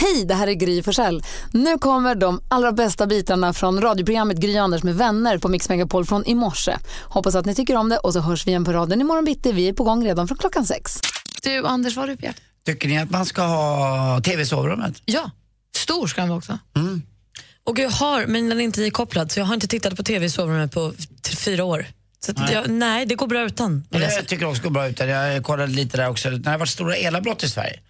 Hej, det här är Gry Forssell. Nu kommer de allra bästa bitarna från radioprogrammet Gry Anders med vänner på Mix Megapol från i morse. Hoppas att ni tycker om det och så hörs vi igen på raden imorgon bitti. Vi är på gång redan från klockan sex. Du, Anders, vad har du på hjärtat? Tycker ni att man ska ha tv i sovrummet? Ja, stor ska han vara också. Och jag har, men den är inte ikopplad så jag har inte tittat på tv i sovrummet på t- fyra år. Så att Nej. Jag, nej, det går bra utan. vill jag säga. Jag tycker också går bra ut där. Jag kollade lite där också. När det har varit stora elavbrott i Sverige,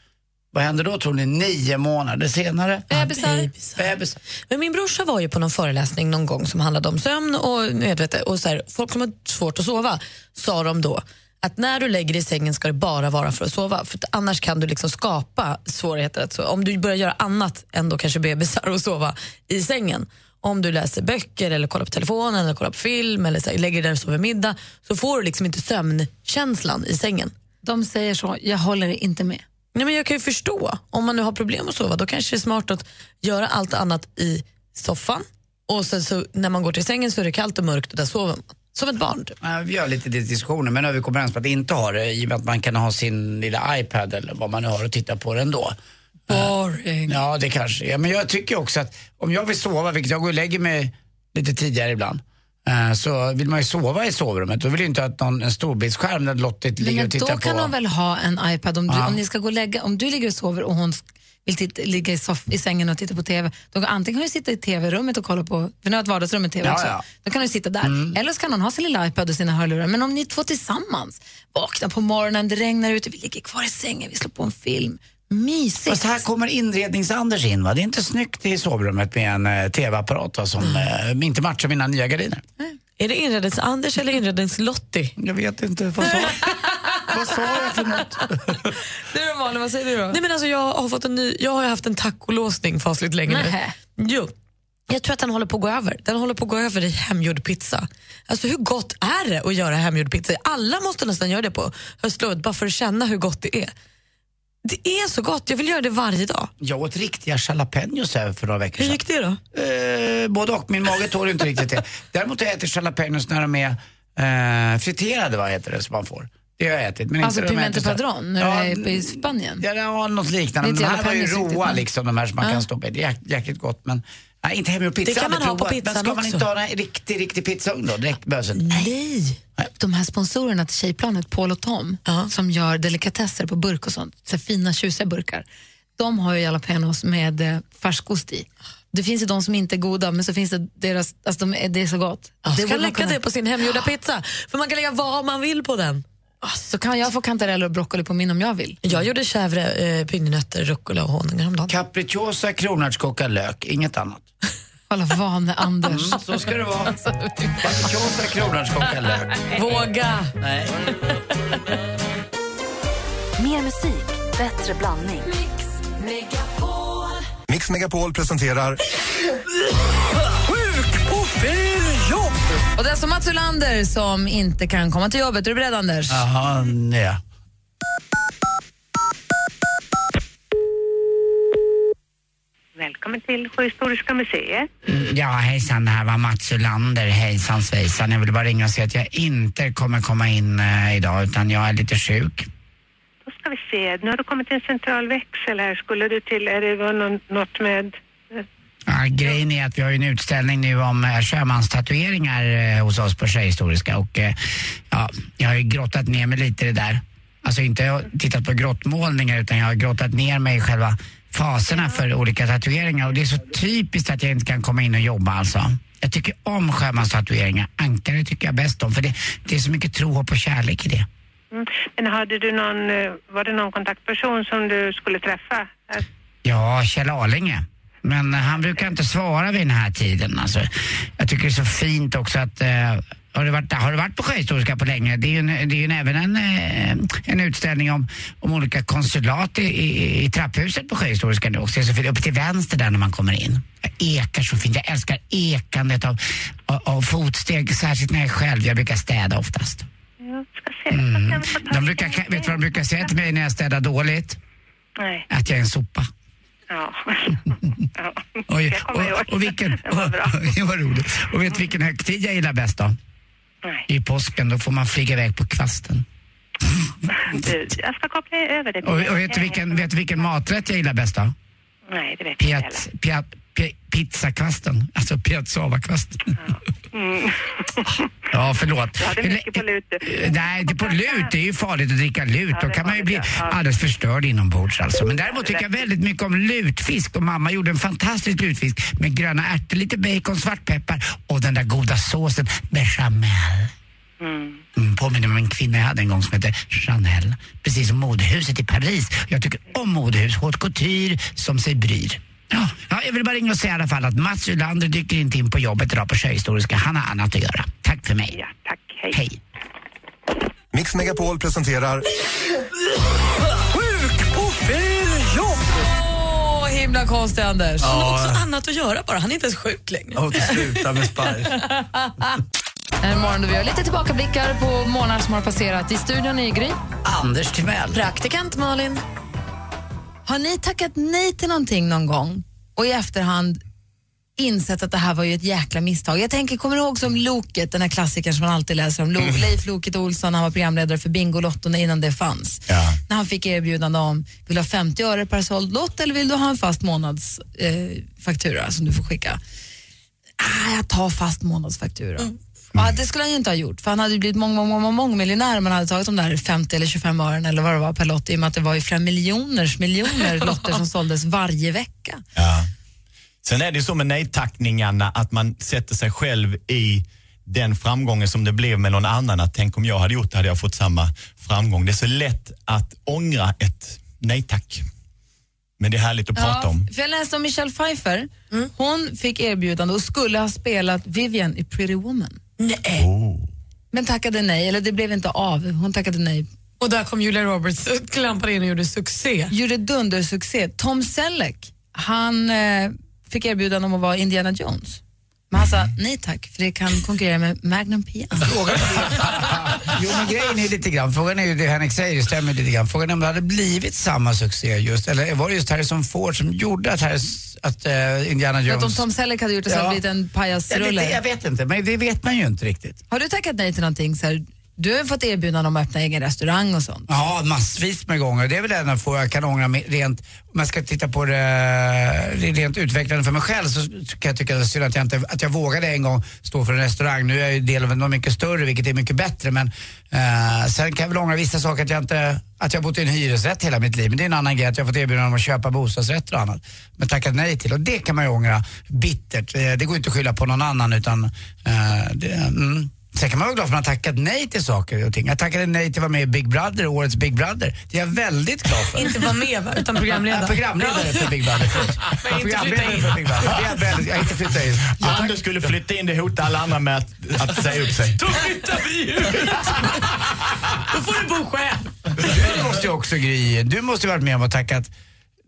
vad händer då tror ni? Nio månader senare? Bebisar. Bebis. Men min brorsa var ju på någon föreläsning någon gång som handlade om sömn och medvete och så här, folk som har svårt att sova sa de då att när du lägger dig i sängen ska det bara vara för att sova för att annars kan du liksom skapa svårigheter att sova. Om du börjar göra annat än då kanske bebisar och sova i sängen. Om du läser böcker eller kollar på telefonen eller kollar på film eller så här, lägger dig där och sover middag så får du liksom inte sömnkänslan i sängen. De säger så, jag håller inte med. Nej, men jag kan ju förstå. Om man nu har problem att sova då kanske det är smart att göra allt annat i soffan och sen så när man går till sängen så är det kallt och mörkt och där sover man. Som ett barn. typ. Ja, Vi har lite diskussioner, men nu har vi kommit överens på att inte ha det i och med att man kan ha sin lilla iPad eller vad man nu har och titta på den då. Boring. Ja, det kanske är. Men jag tycker också att om jag vill sova, vilket jag går och lägger mig lite tidigare ibland, eh, så vill man ju sova i sovrummet. Då vill jag inte att någon, en storbildsskärm där Lottit ligger Men och då tittar kan på. hon väl ha en iPad om du, Ja. om ni ska gå och lägga, om du ligger och sover och hon vill titta, ligga i, soff, i sängen och titta på TV. Då kan, antingen kan hon sitta i TV-rummet och kolla på, för nu har ett vardagsrum med TV Ja, också. ja. Mm. Då kan hon sitta där. Eller så kan hon ha sin lilla iPad och sina hörlurar. Men om ni två tillsammans vaknar på morgonen, det regnar ute, vi ligger kvar i sängen, vi slår på en film. Mysigt. Fast här kommer inrednings-Anders in va? Det är inte snyggt i sovrummet med en eh, TV-apparat va, som eh, inte matchar mina nya gardiner. Är det inrednings-Anders eller inrednings-Lottie? Jag vet inte, vad sa, vad sa jag för något? Du Malin, vad säger du då? Nej, men alltså, jag, har fått en ny, jag har ju haft en tacolåsning fasligt länge Nähä. nu. Jo. Jag tror att den håller på att gå över. Den håller på att gå över i hemgjord pizza. Alltså hur gott är det att göra hemgjord pizza? Alla måste nästan göra det på höstlovet bara för att känna hur gott det är. Det är så gott, jag vill göra det varje dag. Jag åt riktiga jalapenos här för några veckor Hur sedan. gick det då? Eh, både och, min mage tål ju inte riktigt det. Däremot har jag ätit jalapenos när de är eh, friterade, vad heter det, som man får. Det har jag ätit. Men Alltså inte de jag pimento äter så här. padron, när Ja, du är i Spanien. Ja, det var något liknande. Det Men är de inte här var ju jalapenos riktigt, råa men- liksom, de här som man kan stoppa i. Det är jäk- jäkligt gott men nej, inte hemgjord pizza. Det kan man aldrig ha på provat. Men pizzan ska man också. inte ha en riktig, riktig pizzaugn då? Direktbösen. Nej. De här sponsorerna till Tjejplanet, Paul och Tom, Ja. som gör delikatesser på burk och sånt, så här fina tjusiga burkar, de har ju jalapenos med eh, färskost i. Det finns ju de som inte är goda, men så finns det deras, alltså de, är- det är så gott. Det borde kan man lägga kunna- det på sin hemgjorda pizza. För man kan lägga vad man vill på den. Ah, Så kan jag få kantareller och broccoli på min om jag vill. Jag gjorde chèvre, eh, pinnenötter, rucola och honung häromdagen. Capricciosa, kronärtskocka, lök. Inget annat. Mm, Kolla vane Anders. Så ska det vara. Capricciosa, kronärtskocka, lök. Våga! Nej. Mer musik, bättre blandning. Mix Megapol presenterar Och det är som Mats Ulander som inte kan komma till jobbet. Är du beredd Anders? Jaha, nej. Välkommen till Sjöhistoriska museet. Mm, Ja, hejsan, det här var Mats Ulander. Hejsan svejsan. Jag ville bara ringa och säga att jag inte kommer komma in eh, idag utan jag är lite sjuk. Då ska vi se, nu har du kommit till en central växel här. Skulle du till, är det var någon, något med... Ja, grejen är att vi har ju en utställning nu om eh, sjömanstatueringar eh, hos oss på Sjöhistoriska och eh, ja, jag har ju grottat ner mig lite i det där. Alltså inte jag har tittat på grottmålningar utan jag har grottat ner mig i själva faserna för olika tatueringar och det är så typiskt att jag inte kan komma in och jobba alltså. Jag tycker om sjömanstatueringar, ankare tycker jag bäst om för det, det är så mycket tro, hopp och kärlek i det. Mm. Men hade du någon, eh, var det någon kontaktperson som du skulle träffa? Att- Ja, Kjell Arlinge. Men eh, han brukar inte svara vid den här tiden. Alltså, jag tycker det är så fint också att... Eh, har, du varit, har du varit på Sjöhistoriska på länge? Det är ju, en, det är ju en, även en, eh, en utställning om, om olika konsulat i, i, i trapphuset på Sjöhistoriska nu också. Det är så fint. Upp till vänster där när man kommer in. Jag ekar så fint. Jag älskar ekandet av, av, av fotsteg, särskilt när jag är själv. Jag brukar städa oftast. Jag ska se Okej, så kan vi få ta lite De Mm. brukar, vet mer du vad de brukar säga till mig när jag städar dåligt? Nej, Att jag är en sopa. ja. ja. Oj, Jag kommer ihåg. och, och vilken... Det var bra. Det var roligt. Och vet du vilken högtid jag gillar bäst då? Nej, I påsken, då får man flyga iväg på kvasten. du, jag ska koppla över det. till Och, dig. och vet du vilken, vet du vilken maträtt jag gillar bäst då? Nej, det vet jag inte heller. Piat, piat, pi- pizzakvasten. Alltså piazzavakvasten. Mm. Ja, förlåt. Du hade Hur mycket lä- på lut, du. Eh, Nej, inte på lut. Det är ju farligt att dricka lut. Ja, Då det kan var man ju det, bli ja. Ja. alldeles förstörd inombords alltså. Men däremot tycker jag väldigt mycket om lutfisk och mamma gjorde en fantastisk lutfisk med gröna ärtor, lite bacon, svartpeppar och den där goda såsen bechamel. Mm. Mm, påminner om en kvinna jag hade en gång som hette Chanel. Precis som modehuset i Paris. Jag tycker om modehus. Haute couture som sig bryr. Ja, ja, jag vill bara ringa och säga i alla fall att Mats Ylander dyker inte in på jobbet idag på Sjöhistoriska. Han har annat att göra. Tack för mig. Ja, tack. Hej. Hej. Mix Megapol presenterar Åh, himla konstig Anders. Han har också annat att göra bara. Han är inte ens sjuk längre. Och sluta med spark. En morgon då vi har lite tillbakablickar på månader som har passerat. I studion är Gry. Anders Timell. Praktikant Malin. Har ni tackat nej till någonting någon gång och i efterhand insett att det här var ju ett jäkla misstag? Jag tänker, kommer du ihåg som Loket, den här klassikern som man alltid läser om? Lo- Leif Loket Olsson, han var programledare för Bingolotto när- innan det fanns. Ja. När han fick erbjudande om, vill du ha 50 öre per såld lott eller vill du ha en fast månadsfaktura eh, faktura som du får skicka? Ah, jag tar fast månadsfaktura. Ja, det skulle han ju inte ha gjort för han hade ju blivit mång, mång, mång, mång, mång miljonär om han hade tagit de där 50 eller 25 ören eller vad det var per lott i och med att det var ju flera miljoners miljoner lotter som såldes varje vecka. Ja. Sen är det ju så med nejtackningarna att man sätter sig själv i den framgången som det blev med någon annan. Att tänk om jag hade gjort det hade jag fått samma framgång. Det är så lätt att ångra ett nej tack. Men det är härligt att prata om. för jag läste om Michelle Pfeiffer. Hon fick erbjudande och skulle ha spelat Vivian i Pretty Woman. Nej. Oh. Men tackade nej, eller det blev inte av. Hon tackade nej. Och där kom Julia Roberts, klampade in och gjorde succé. Gjorde dundersuccé. Tom Selleck, han eh, fick erbjudande om att vara Indiana Jones. Men han sa nej tack, för det kan konkurrera med Magnum P.I. Jo men grejen är lite grann, frågan är ju det Henrik säger, det stämmer lite grann. Frågan är om det hade blivit samma succé just, eller var det just Harrison Ford som gjorde att, Harris, att eh, Indiana För att om Jones... Tom Selleck hade gjort det så hade det Ja. blivit en jag, vet, pajasrulle. jag vet inte, men det vet man ju inte riktigt. Har du tackat nej till någonting? Så här, du har ju fått erbjudande om att öppna egen restaurang och sånt. Ja, massvis med gånger. Det är väl en av få jag kan ångra mig rent, om jag ska titta på det eh, rent utvecklande för mig själv så kan jag tycka att det är synd att jag, inte, att jag vågade en gång stå för en restaurang. Nu är jag ju del av något mycket större vilket är mycket bättre men eh, sen kan jag väl ångra vissa saker att jag inte, att jag bott i en hyresrätt hela mitt liv. Men det är en annan grej att jag fått erbjudande om att köpa bostadsrätter och annat. Men tackat nej till och det kan man ju ångra bittert. Eh, det går ju inte att skylla på någon annan utan eh, det, mm. Sen kan man vara glad för att man har tackat nej till saker och ting. Jag tackade nej till att vara med i Big Brother, årets Big Brother. Det är jag väldigt glad för. Inte var med va? utan Jag är programledare. programledare för Big Brother. förlåt. Jag är Programledare för Big Brother. Det är jag väldigt, jag har inte flyttat in. Anders skulle flytta in, det hotade alla andra med att, att säga upp sig. Då flyttar vi ut! Då får du bo själv. Du måste ju också Gry, du måste ju varit med om att tackat,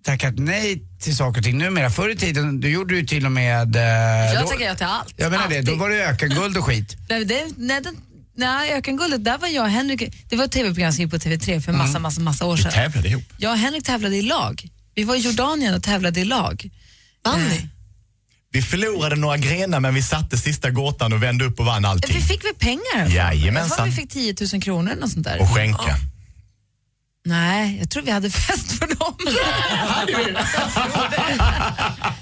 tackat nej till saker och ting numera. Förr i tiden, du gjorde ju till och med... eh, Jag då- tackar ja till allt. Jag menar det, Alltid. då var det ökenguld och skit. Nej, det, nej, den, nej, Ökenguldet, där var jag och Henrik. Det var ett tv-program som gick på TV3 för massa, massa, massa år sedan. Tävlade ihop. Jag och Henrik tävlade i lag. Vi var i Jordanien och tävlade i lag. Vann ni? Vi förlorade några grenar men vi satte sista gåtan och vände upp och vann allting. Eh, Vi fick väl pengar? Jajamensan. Jag tror vi fick 10 000 kronor eller något sånt där. Och skänka. Nej, jag tror vi hade fest för dem.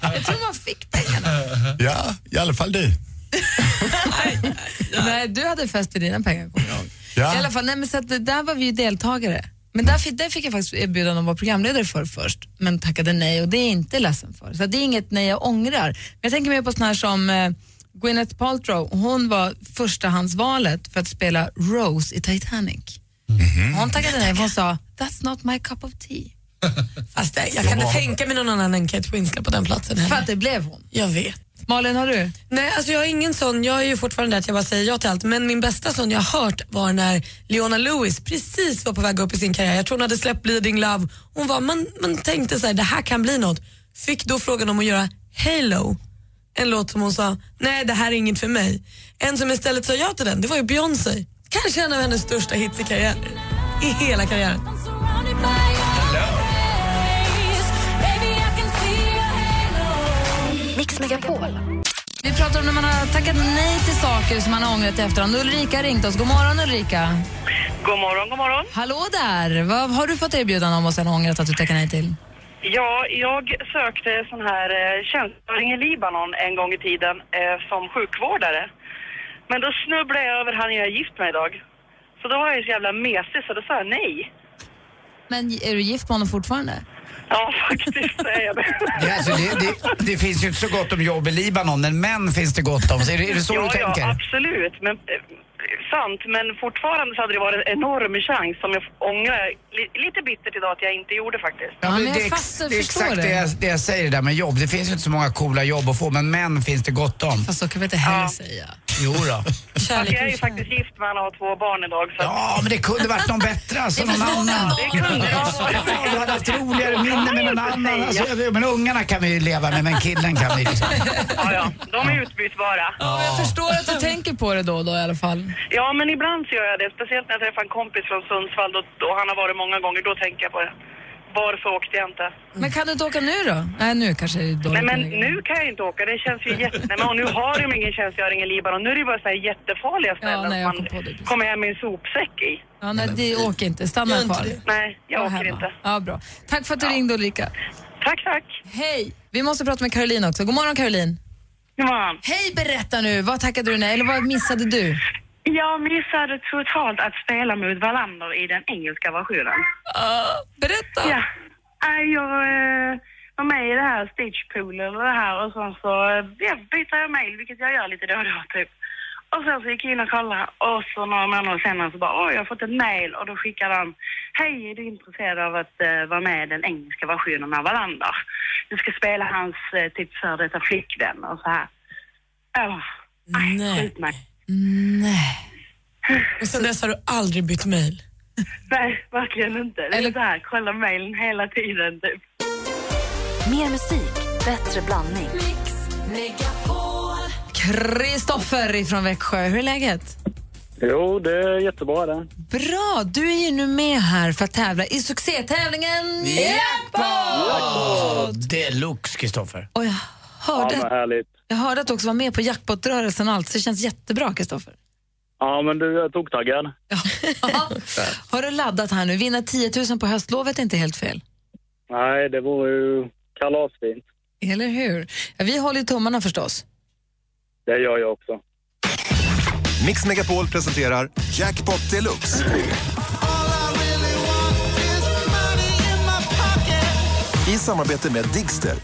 jag tror man fick pengarna. Ja, i alla fall du. Nej, du hade fest för dina pengar. kommer jag ihåg. Ja. I alla fall, nej, men så att det- där var vi ju deltagare. Men där fick, där fick jag faktiskt erbjudande om att vara programledare för först, men tackade nej och det är jag inte ledsen för. Så det är inget nej jag ångrar. Men jag tänker mer på sådana här som eh, Gwyneth Paltrow, hon var förstahandsvalet för att spela Rose i Titanic. Mhm. Hon tackade nej för hon sa “That's not my cup of tea”. Fast eh, jag, jag kan inte tänka mig någon annan än Kate Winslet på den platsen. För Heller. att det blev hon. Jag vet. Malin, har du? Nej, alltså jag är ingen sån. Jag är ju fortfarande där att jag bara säger ja till allt. Men min bästa sån jag har hört var när Leona Lewis precis var på väg upp i sin karriär. Jag tror hon hade släppt Bleeding Love. Hon var, man, man tänkte så här, det här kan bli något. Fick då frågan om att göra Halo. En låt som hon sa, nej det här är inget för mig. En som istället sa ja till den, det var ju Beyoncé. Kanske en av hennes största hits i karriären. I hela karriären. Mix Megapol. Vi pratar om när man har tackat nej till saker som man har ångrat i efterhand. Ulrika har ringt oss. God morgon Ulrika. God morgon, god morgon. Hallå där. Vad har du fått erbjudande om och sen ångrat att du tackar nej till? Ja, jag sökte sån här eh, tjänstgöring i Libanon en gång i tiden eh, som sjukvårdare. Men då snubblade jag över han jag är gift med idag. Så då var jag ju så jävla mesig så då sa jag nej. Men är du gift med honom fortfarande? Ja, faktiskt är jag det. Det, alltså, det, det, det finns ju inte så gott om jobb i Libanon, men män finns det gott om. Så är, det, är det så ja, du tänker? Ja, absolut. Men, eh, sant, men fortfarande så hade det varit en enorm chans som jag ångrar li- lite bittert idag att jag inte gjorde faktiskt. men det, är ex- det är exakt det jag, det jag säger där med jobb. Det finns ju inte så många coola jobb att få, men män finns det gott om. Fast så kan vi inte heller säga. Jo då. Fast jag är ju faktiskt gift med han och har två barn idag. Så Ja, men det kunde varit någon bättre. Alltså, Det någon förstår annan. jag. Det kunde det ha varit. Ja, Du hade haft roligare minne med någon Det kan jag annan. inte Alltså, säga. men ungarna kan vi ju leva med, men killen kan vi liksom. Ja, ja, de är utbytbara. Ja, jag förstår att du tänker på det då och då i alla fall. Ja, men ibland så gör jag det. Speciellt när jag träffar en kompis från Sundsvall och, och han har varit många gånger. Då tänker jag på det. Varför åkte jag inte? Men kan du inte åka nu då? Nej, nu kanske det är dåligt. Nej, men nu kan jag ju inte åka. Det känns ju jätte... Nej, men och nu har de ingen tjänstgöring i Libanon. Nu är det ju bara så här jättefarliga ställen nej, jag som man kommer hem med en sopsäck i. Ja, nej, det åker inte. Stanna kvar. Nej, jag Var åker hemma. inte. Ja, bra. Tack för att du ringde Ulrika. Tack, tack. Hej! Vi måste prata med Caroline också. God morgon Caroline. God morgon. Hej, berätta nu. Vad tackade du nej eller vad missade du? Jag missade totalt att spela mot Wallander i den engelska versionen. Ah, berätta! Ja. Nej, Jag eh, var med i det här Stagepool eller det här och sen så eh, ja, byter jag mail, vilket jag gör lite då och då typ. Och sen så gick jag in och kollade och så några månader senare så bara åh, jag har fått ett mail och då skickade han Hej, är du intresserad av att eh, vara med i den engelska versionen av Wallander? Du ska spela hans eh, typ före detta flickvän och så här. Oh, nej. Skit mig. Och sen dess har du aldrig bytt mejl. Nej, verkligen inte. Det är så här, kolla mejlen hela tiden typ. Mer musik, bättre blandning. Mix Megapol. Kristoffer ifrån Växjö, hur är läget? Jo, det är jättebra det. Bra! Du är ju nu med här för att tävla i succétävlingen Jackpot! Deluxe, Kristoffer. Och jag Ja, men hörde, härligt. jag hörde att du också var med på jackpotrörelsen och allt, så det känns jättebra Kristoffer. Ja, men du, jag är toktaggad. Har du laddat här nu? Vinna 10 000 på höstlovet är inte helt fel. Nej, det vore ju kalasfint. Eller hur? Ja, vi håller ju tummarna förstås. Det gör jag också. Mix Megapol presenterar Jackpot Deluxe. I samarbete med Digster.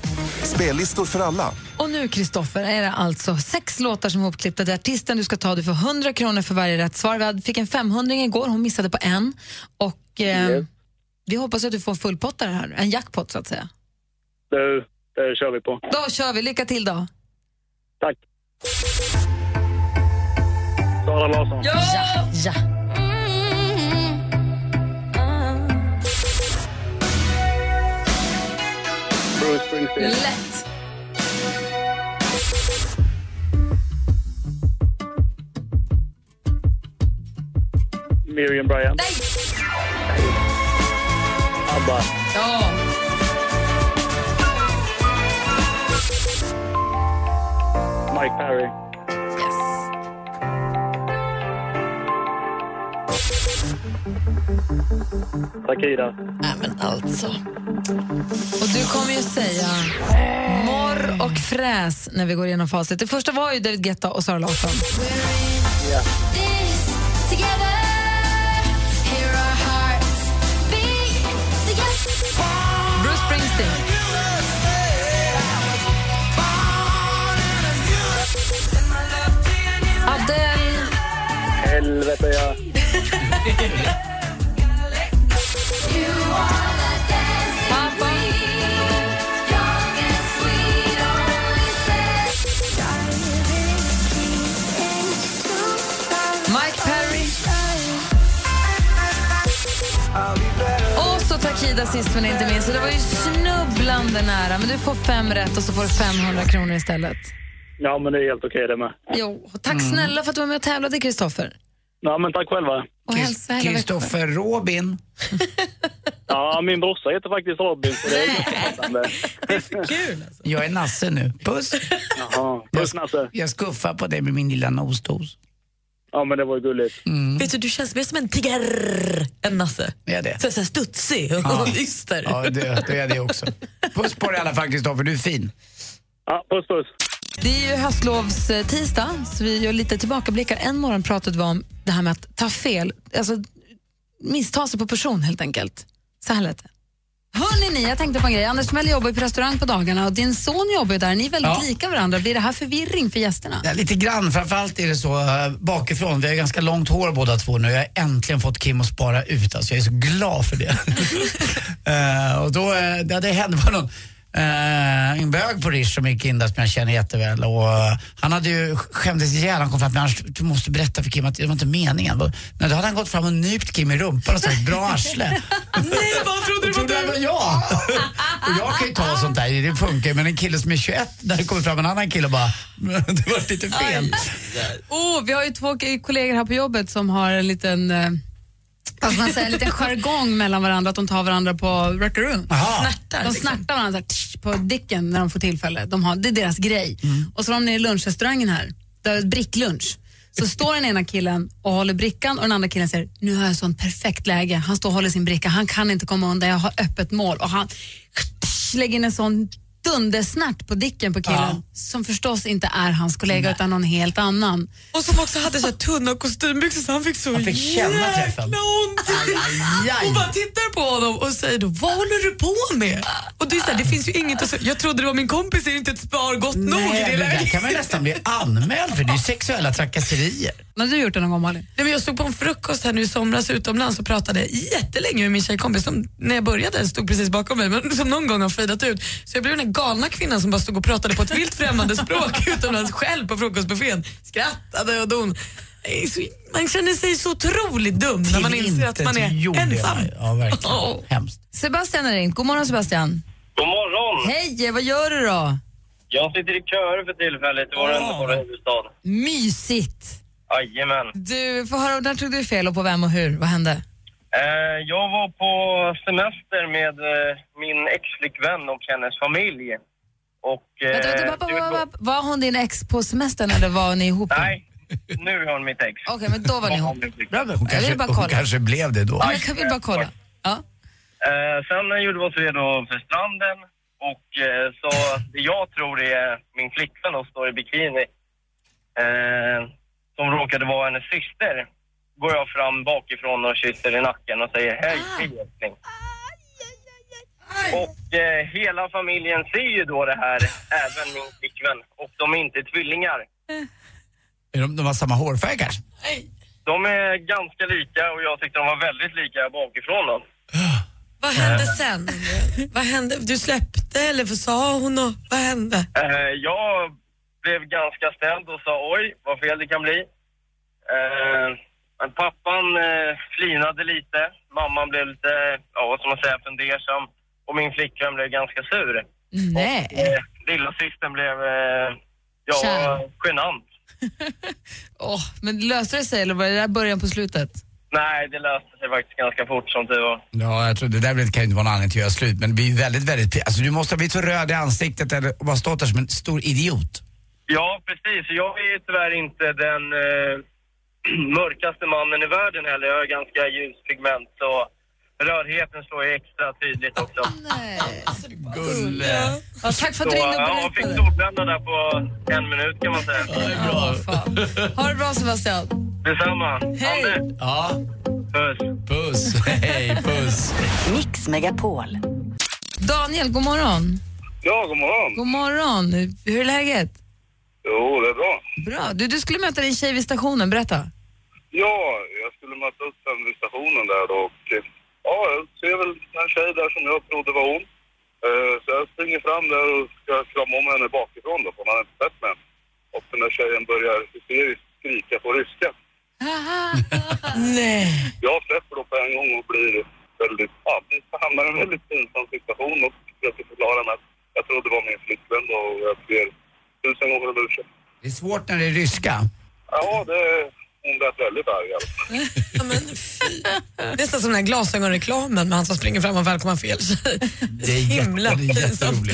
Spellistor för alla. Och nu Kristoffer är det alltså sex låtar som är hopklippta där artisten du ska ta. Du får 100 kronor för varje rätt svar. Vi hade- fick en 500 igår, hon missade på en. Och eh, vi hoppas att du får en fullpottare här, en jackpot så att säga. Du, det kör vi på. Då kör vi, lycka till då. Tack. Sara Larsson. Ja! ja. Bruce Springsteen. Lätt. Miriam Bryant. Nej! Abba. Ja. Mike Perry. Takida. Nej, men alltså. Och du kommer ju säga morr och fräs när vi går igenom facit. Det första var ju David Guetta och Sara Larsson. Ja. Bruce Springsteen. Adele. Helvete, ja. Pappa. Mike Perry. Och så Takida sist men inte minst. Så det var ju snubblande nära. Men du får fem rätt och så får du 500 kronor istället. Ja, men det är helt okej det med. Mm. Jo, och tack snälla för att du var med och tävlade, Kristoffer. Ja, men tack själva. Kristoffer Robin. Ja, min brorsa heter faktiskt Robin. Så det är inget Det är för kul. Jag är Nasse nu. Puss! Jaha, puss Nasse. Jag skuffar på dig med min lilla nostos. Ja, men det var ju gulligt. Vet du, du känns mer som en tigger än Nasse. Är det? Så, så här studsig och Ja. yster. Ja, det, det är det också. Puss på dig i alla fall Kristoffer, du är fin. Ja, puss puss. Det är ju höstlovstisdag, så vi gör lite tillbakablickar. En morgon pratade vi om det här med att ta fel, alltså missta sig på person helt enkelt. Så här lät det. Hörrni ni, jag tänkte på en grej. Anders Timell jobbar ju på restaurang på dagarna och din son jobbar ju där. Ni är väldigt Ja. lika varandra. Blir det här förvirring för gästerna? Ja, lite grann, framförallt är det så eh, bakifrån. Vi har ganska långt hår båda två nu. Jag har äntligen fått Kim att spara ut. Alltså, jag är så glad för det. Eh, och då, eh, det, det hände var någon, eh, en bög på Rish som gick in där som jag känner jätteväl. Och, eh, han hade ju skämdes ihjäl. Han kom fram till mig, "Anders, du måste berätta för Kim att det var inte meningen. Då, nej, då hade han gått fram och nypt Kim i rumpan och sagt bra arsle. Nej, vad trodde du var du? Var jag. Och jag kan ju ta sånt där, det funkar ju. Men en kille som är 21, där det kommer fram en annan kille och bara, det var lite fel. Oh, vi har ju två k- kollegor här på jobbet som har en liten eh, vad ska man säga, en liten jargong mellan varandra, att de tar varandra på rackaroon. Aha. Snärtar, liksom. de snärtar varandra så här, tsch, på dicken när de får tillfälle. De har, det är deras grej. Och så har de nere i lunchrestaurangen här, där är bricklunch. Så står den ena killen och håller brickan och den andra killen säger nu har jag sånt perfekt läge. Han står och håller sin bricka, han kan inte komma undan, jag har öppet mål. Och han tsch, lägger in en sån dundersnärt på dicken på killen som förstås inte är hans kollega utan någon helt annan. Och som också hade så här tunna kostymbyxor så han fick så Han fick känna jäkla träffen. ont. Och bara tittar på honom och säger då, vad håller du på med? Och det är så här, det finns ju inget att säga. Jag trodde det var min kompis, det är inte ett spar gott nog i Nej, det det där läget. kan man ju nästan bli anmäld för. Det är ju sexuella trakasserier. Har du gjort det någon gång Malin? Nej, men jag stod på en frukost här nu i somras utomlands och pratade jättelänge med min tjejkompis som när jag började stod precis bakom mig men som någon gång har fejdat ut. Så jag blev den här galna kvinnan som bara stod och pratade på ett vilt främmande språk utomlands själv på frukostbuffén. Skrattade och don. Det är så- Man känner sig så otroligt dum när man inser att man är ensam. Oh. Ja, verkligen. Åh. Hemskt. Sebastian är ringt. God morgon Sebastian. God morgon! Hej, vad gör du då? Jag sitter i köer för tillfället i vår underbara huvudstad. Mysigt. Jajamän. Du, får höra, där tog du fel och på vem och hur? Vad hände? Eh, jag var på semester med eh, min ex-flickvän och hennes familj. Och... Eh, Vänta, vänta, pappa, det var- Ah. var, var, var hon din ex på semestern eller var ni ihop? Nej. Nu har hon mitt ex. Okej, men då var ni ihop. Hon Jag kanske, vill bara hon kolla. kanske blev det då. Ja, men jag vill bara kolla. Ja. Eh, sen eh, gjorde vi oss redo för stranden och eh, så det jag tror är min flickvän då står i bikini eh, som råkade vara hennes syster går jag fram bakifrån och kysser i nacken och säger hej, hej älskling. Och eh, hela familjen ser ju då det här, även min flickvän, och de är inte tvillingar. Är De, de har samma hårfärg kanske? De är ganska lika och jag tyckte de var väldigt lika bakifrån dem. Vad hände Eh. sen? Vad hände? Du släppte eller vad sa hon? Och, vad hände? Eh, jag blev ganska ställd och sa oj, vad fel det kan bli. Eh, men pappan eh, flinade lite, mamman blev lite, ja vad ska man säga, fundersam och min flickvän blev ganska sur. Nej. Eh, lilla systern blev, eh, ja, Kär. genant. Åh, men löste det sig eller var det där början på slutet? Nej, det löste sig faktiskt ganska fort som tur var. Ja, jag tror det där kan ju inte vara någon anledning till att göra slut. Men det blir väldigt, väldigt... Alltså du måste ha blivit så röd i ansiktet eller och bara stått där som en stor idiot. Ja, precis. Jag är ju tyvärr inte den eh, mörkaste mannen i världen heller. Jag har ganska ljus pigment, så rödheten slår ju extra tydligt också. Gulle. Ja, tack för att du Så, ringde och Ja, jag fick berättade. solbränna där på en minut kan man säga. Ja, det är bra. Ha det bra Sebastian. Detsamma. Hej. Anders. Ja. Puss. Puss. Hej, puss. Mix Megapol. Daniel, god morgon. Ja, god morgon. God morgon. Hur är läget? Jo, det är bra. Bra. Du, du skulle möta din tjej vid stationen, berätta. Ja, jag skulle möta upp henne vid stationen där och eh, ja, jag ser väl en tjej där som jag trodde var hon. Eh, Så jag springer fram där och ska krama om henne bakifrån då, för man har inte sett mig än. Och den där tjejen börjar hysteriskt skrika på ryska. Nej. Jag släpper då på en gång och blir väldigt, ja, vi hamnar i en väldigt pinsam situation och försöker förklara mig att jag trodde det var min flickvän då och jag ber tusen gånger om ursäkt. Det är svårt när det är ryska. Ja, det, hon lät väldigt arg i alla fall. nästan som den här glasögonreklamen med han som springer fram och välkomnar fel tjej. Det är Himla jätte- det är pinsamt.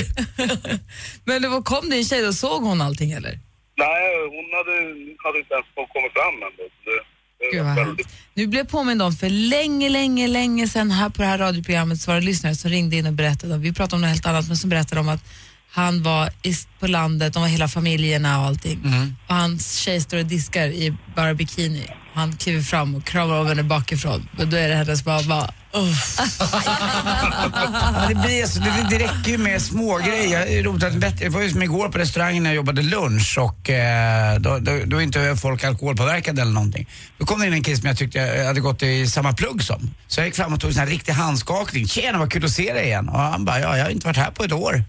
Men det var, kom det en tjej och såg hon allting eller? Nej, hon hade, hade inte ens kommit fram än. då, Så det, det Gud, var vad väldigt... Nu blev jag påmind om för länge, länge, länge sedan här på det här radioprogrammet så var det lyssnare som ringde in och berättade, om- vi pratade om något helt annat, men som berättade om att han var i, på landet, de var hela familjerna och allting. Och hans tjej står och diskar i bara bikini. Han kliver fram och kramar om henne bakifrån. Och då är det hennes mamma. Uff. Ja, det, blir så, det, det räcker ju med små grejer. Rotat bättre. Det var ju som igår på restaurangen när jag jobbade lunch och eh, då, då, då är inte folk alkoholpåverkade eller någonting. Då kom det in en kille som jag tyckte jag hade gått i samma plugg som. Så jag gick fram och tog en sån här riktig handskakning. Tjena vad kul att se dig igen. Och han bara, ja jag har inte varit här på ett år.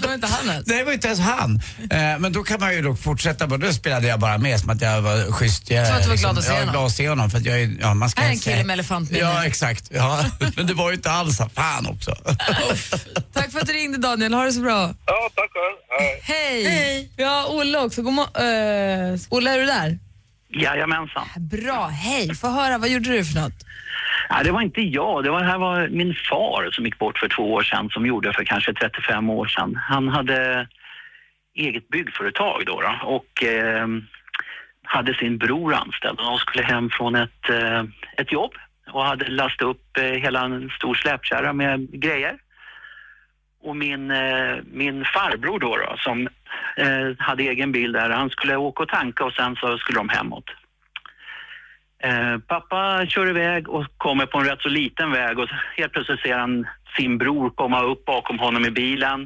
Det var inte han ens. Nej, det var inte ens han. Eh, Men då kan man ju då fortsätta. bara- Då spelade jag bara med som att jag var schysst. Jag, Som att du var glad att se jag är liksom- honom. glad att se honom. För att jag är, ja, man ska Här är en inte säga- kille med elefantminne. Ja, exakt. Ja. Men det var ju inte alls han. Fan också. Tack för att du ringde Daniel, ha det så bra. Ja, tack själv. Hej. Hej! Ja, Olle också. God mo- eh, Olle, är du där? Jajamensan. Bra, hej. Få höra, vad gjorde du för något? Nej, det var inte jag. Det var, det här var min far som gick bort för två år sedan som gjorde för kanske 35 år sedan. Han hade eget byggföretag då, då och eh, hade sin bror anställd. Och De skulle hem från ett, eh, ett jobb och hade lastat upp eh, hela en stor släpkärra med grejer. Och min, eh, min farbror då, då som eh, hade egen bil där, han skulle åka och tanka och sen så skulle de hemåt. Eh, pappa kör iväg och kommer på en rätt så liten väg och helt plötsligt ser han sin bror komma upp bakom honom i bilen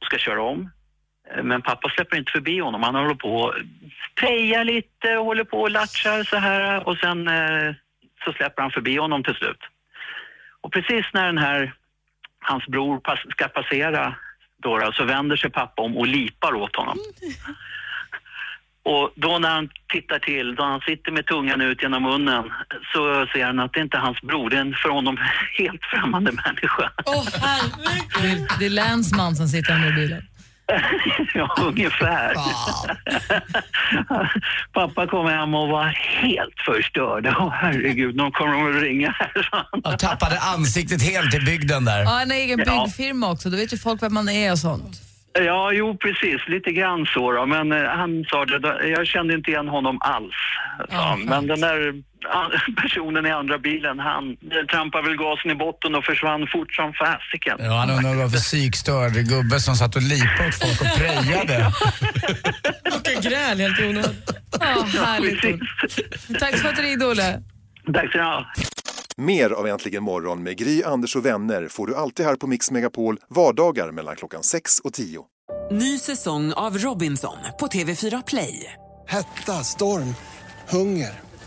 och ska köra om. Eh, Men pappa släpper inte förbi honom. Han håller på och pejar lite och håller på och latchar så här och sen eh, så släpper han förbi honom till slut. Och precis när den här, hans bror pass, ska passera då, då, så vänder sig pappa om och lipar åt honom. Och då när han tittar till, då han sitter med tungan ut genom munnen, så ser han att det inte är hans bror, det är en för honom helt främmande människa. Åh, herregud. Det är länsman som sitter här med bilen. Ja, ungefär. Pappa kom hem och var helt förstörd. Åh herregud, nu kommer de att ringa här. Jag tappade ansiktet helt i bygden där. Ja, en egen Ja. byggfirma också. Då vet ju folk vem man är och sånt. Ja, jo precis, lite grann så då. Men eh, han sa det, då- jag kände inte igen honom alls. sa han. Men den där an- personen i andra bilen, han eh, trampade väl gasen i botten och försvann fort som fasiken. Ja, han undrar varför psykstörd gubbe som satt och lipade åt folk och prejade. Vilken gräl helt i onödan. Ja, härligt. Tack för att du ringde, Olle. Tack ska ni ha. Mer av Äntligen morgon med Gry, Anders och vänner får du alltid här på Mix Megapol vardagar mellan klockan 6 och 10. Ny säsong av Robinson på TV4 Play. Hetta, storm, hunger.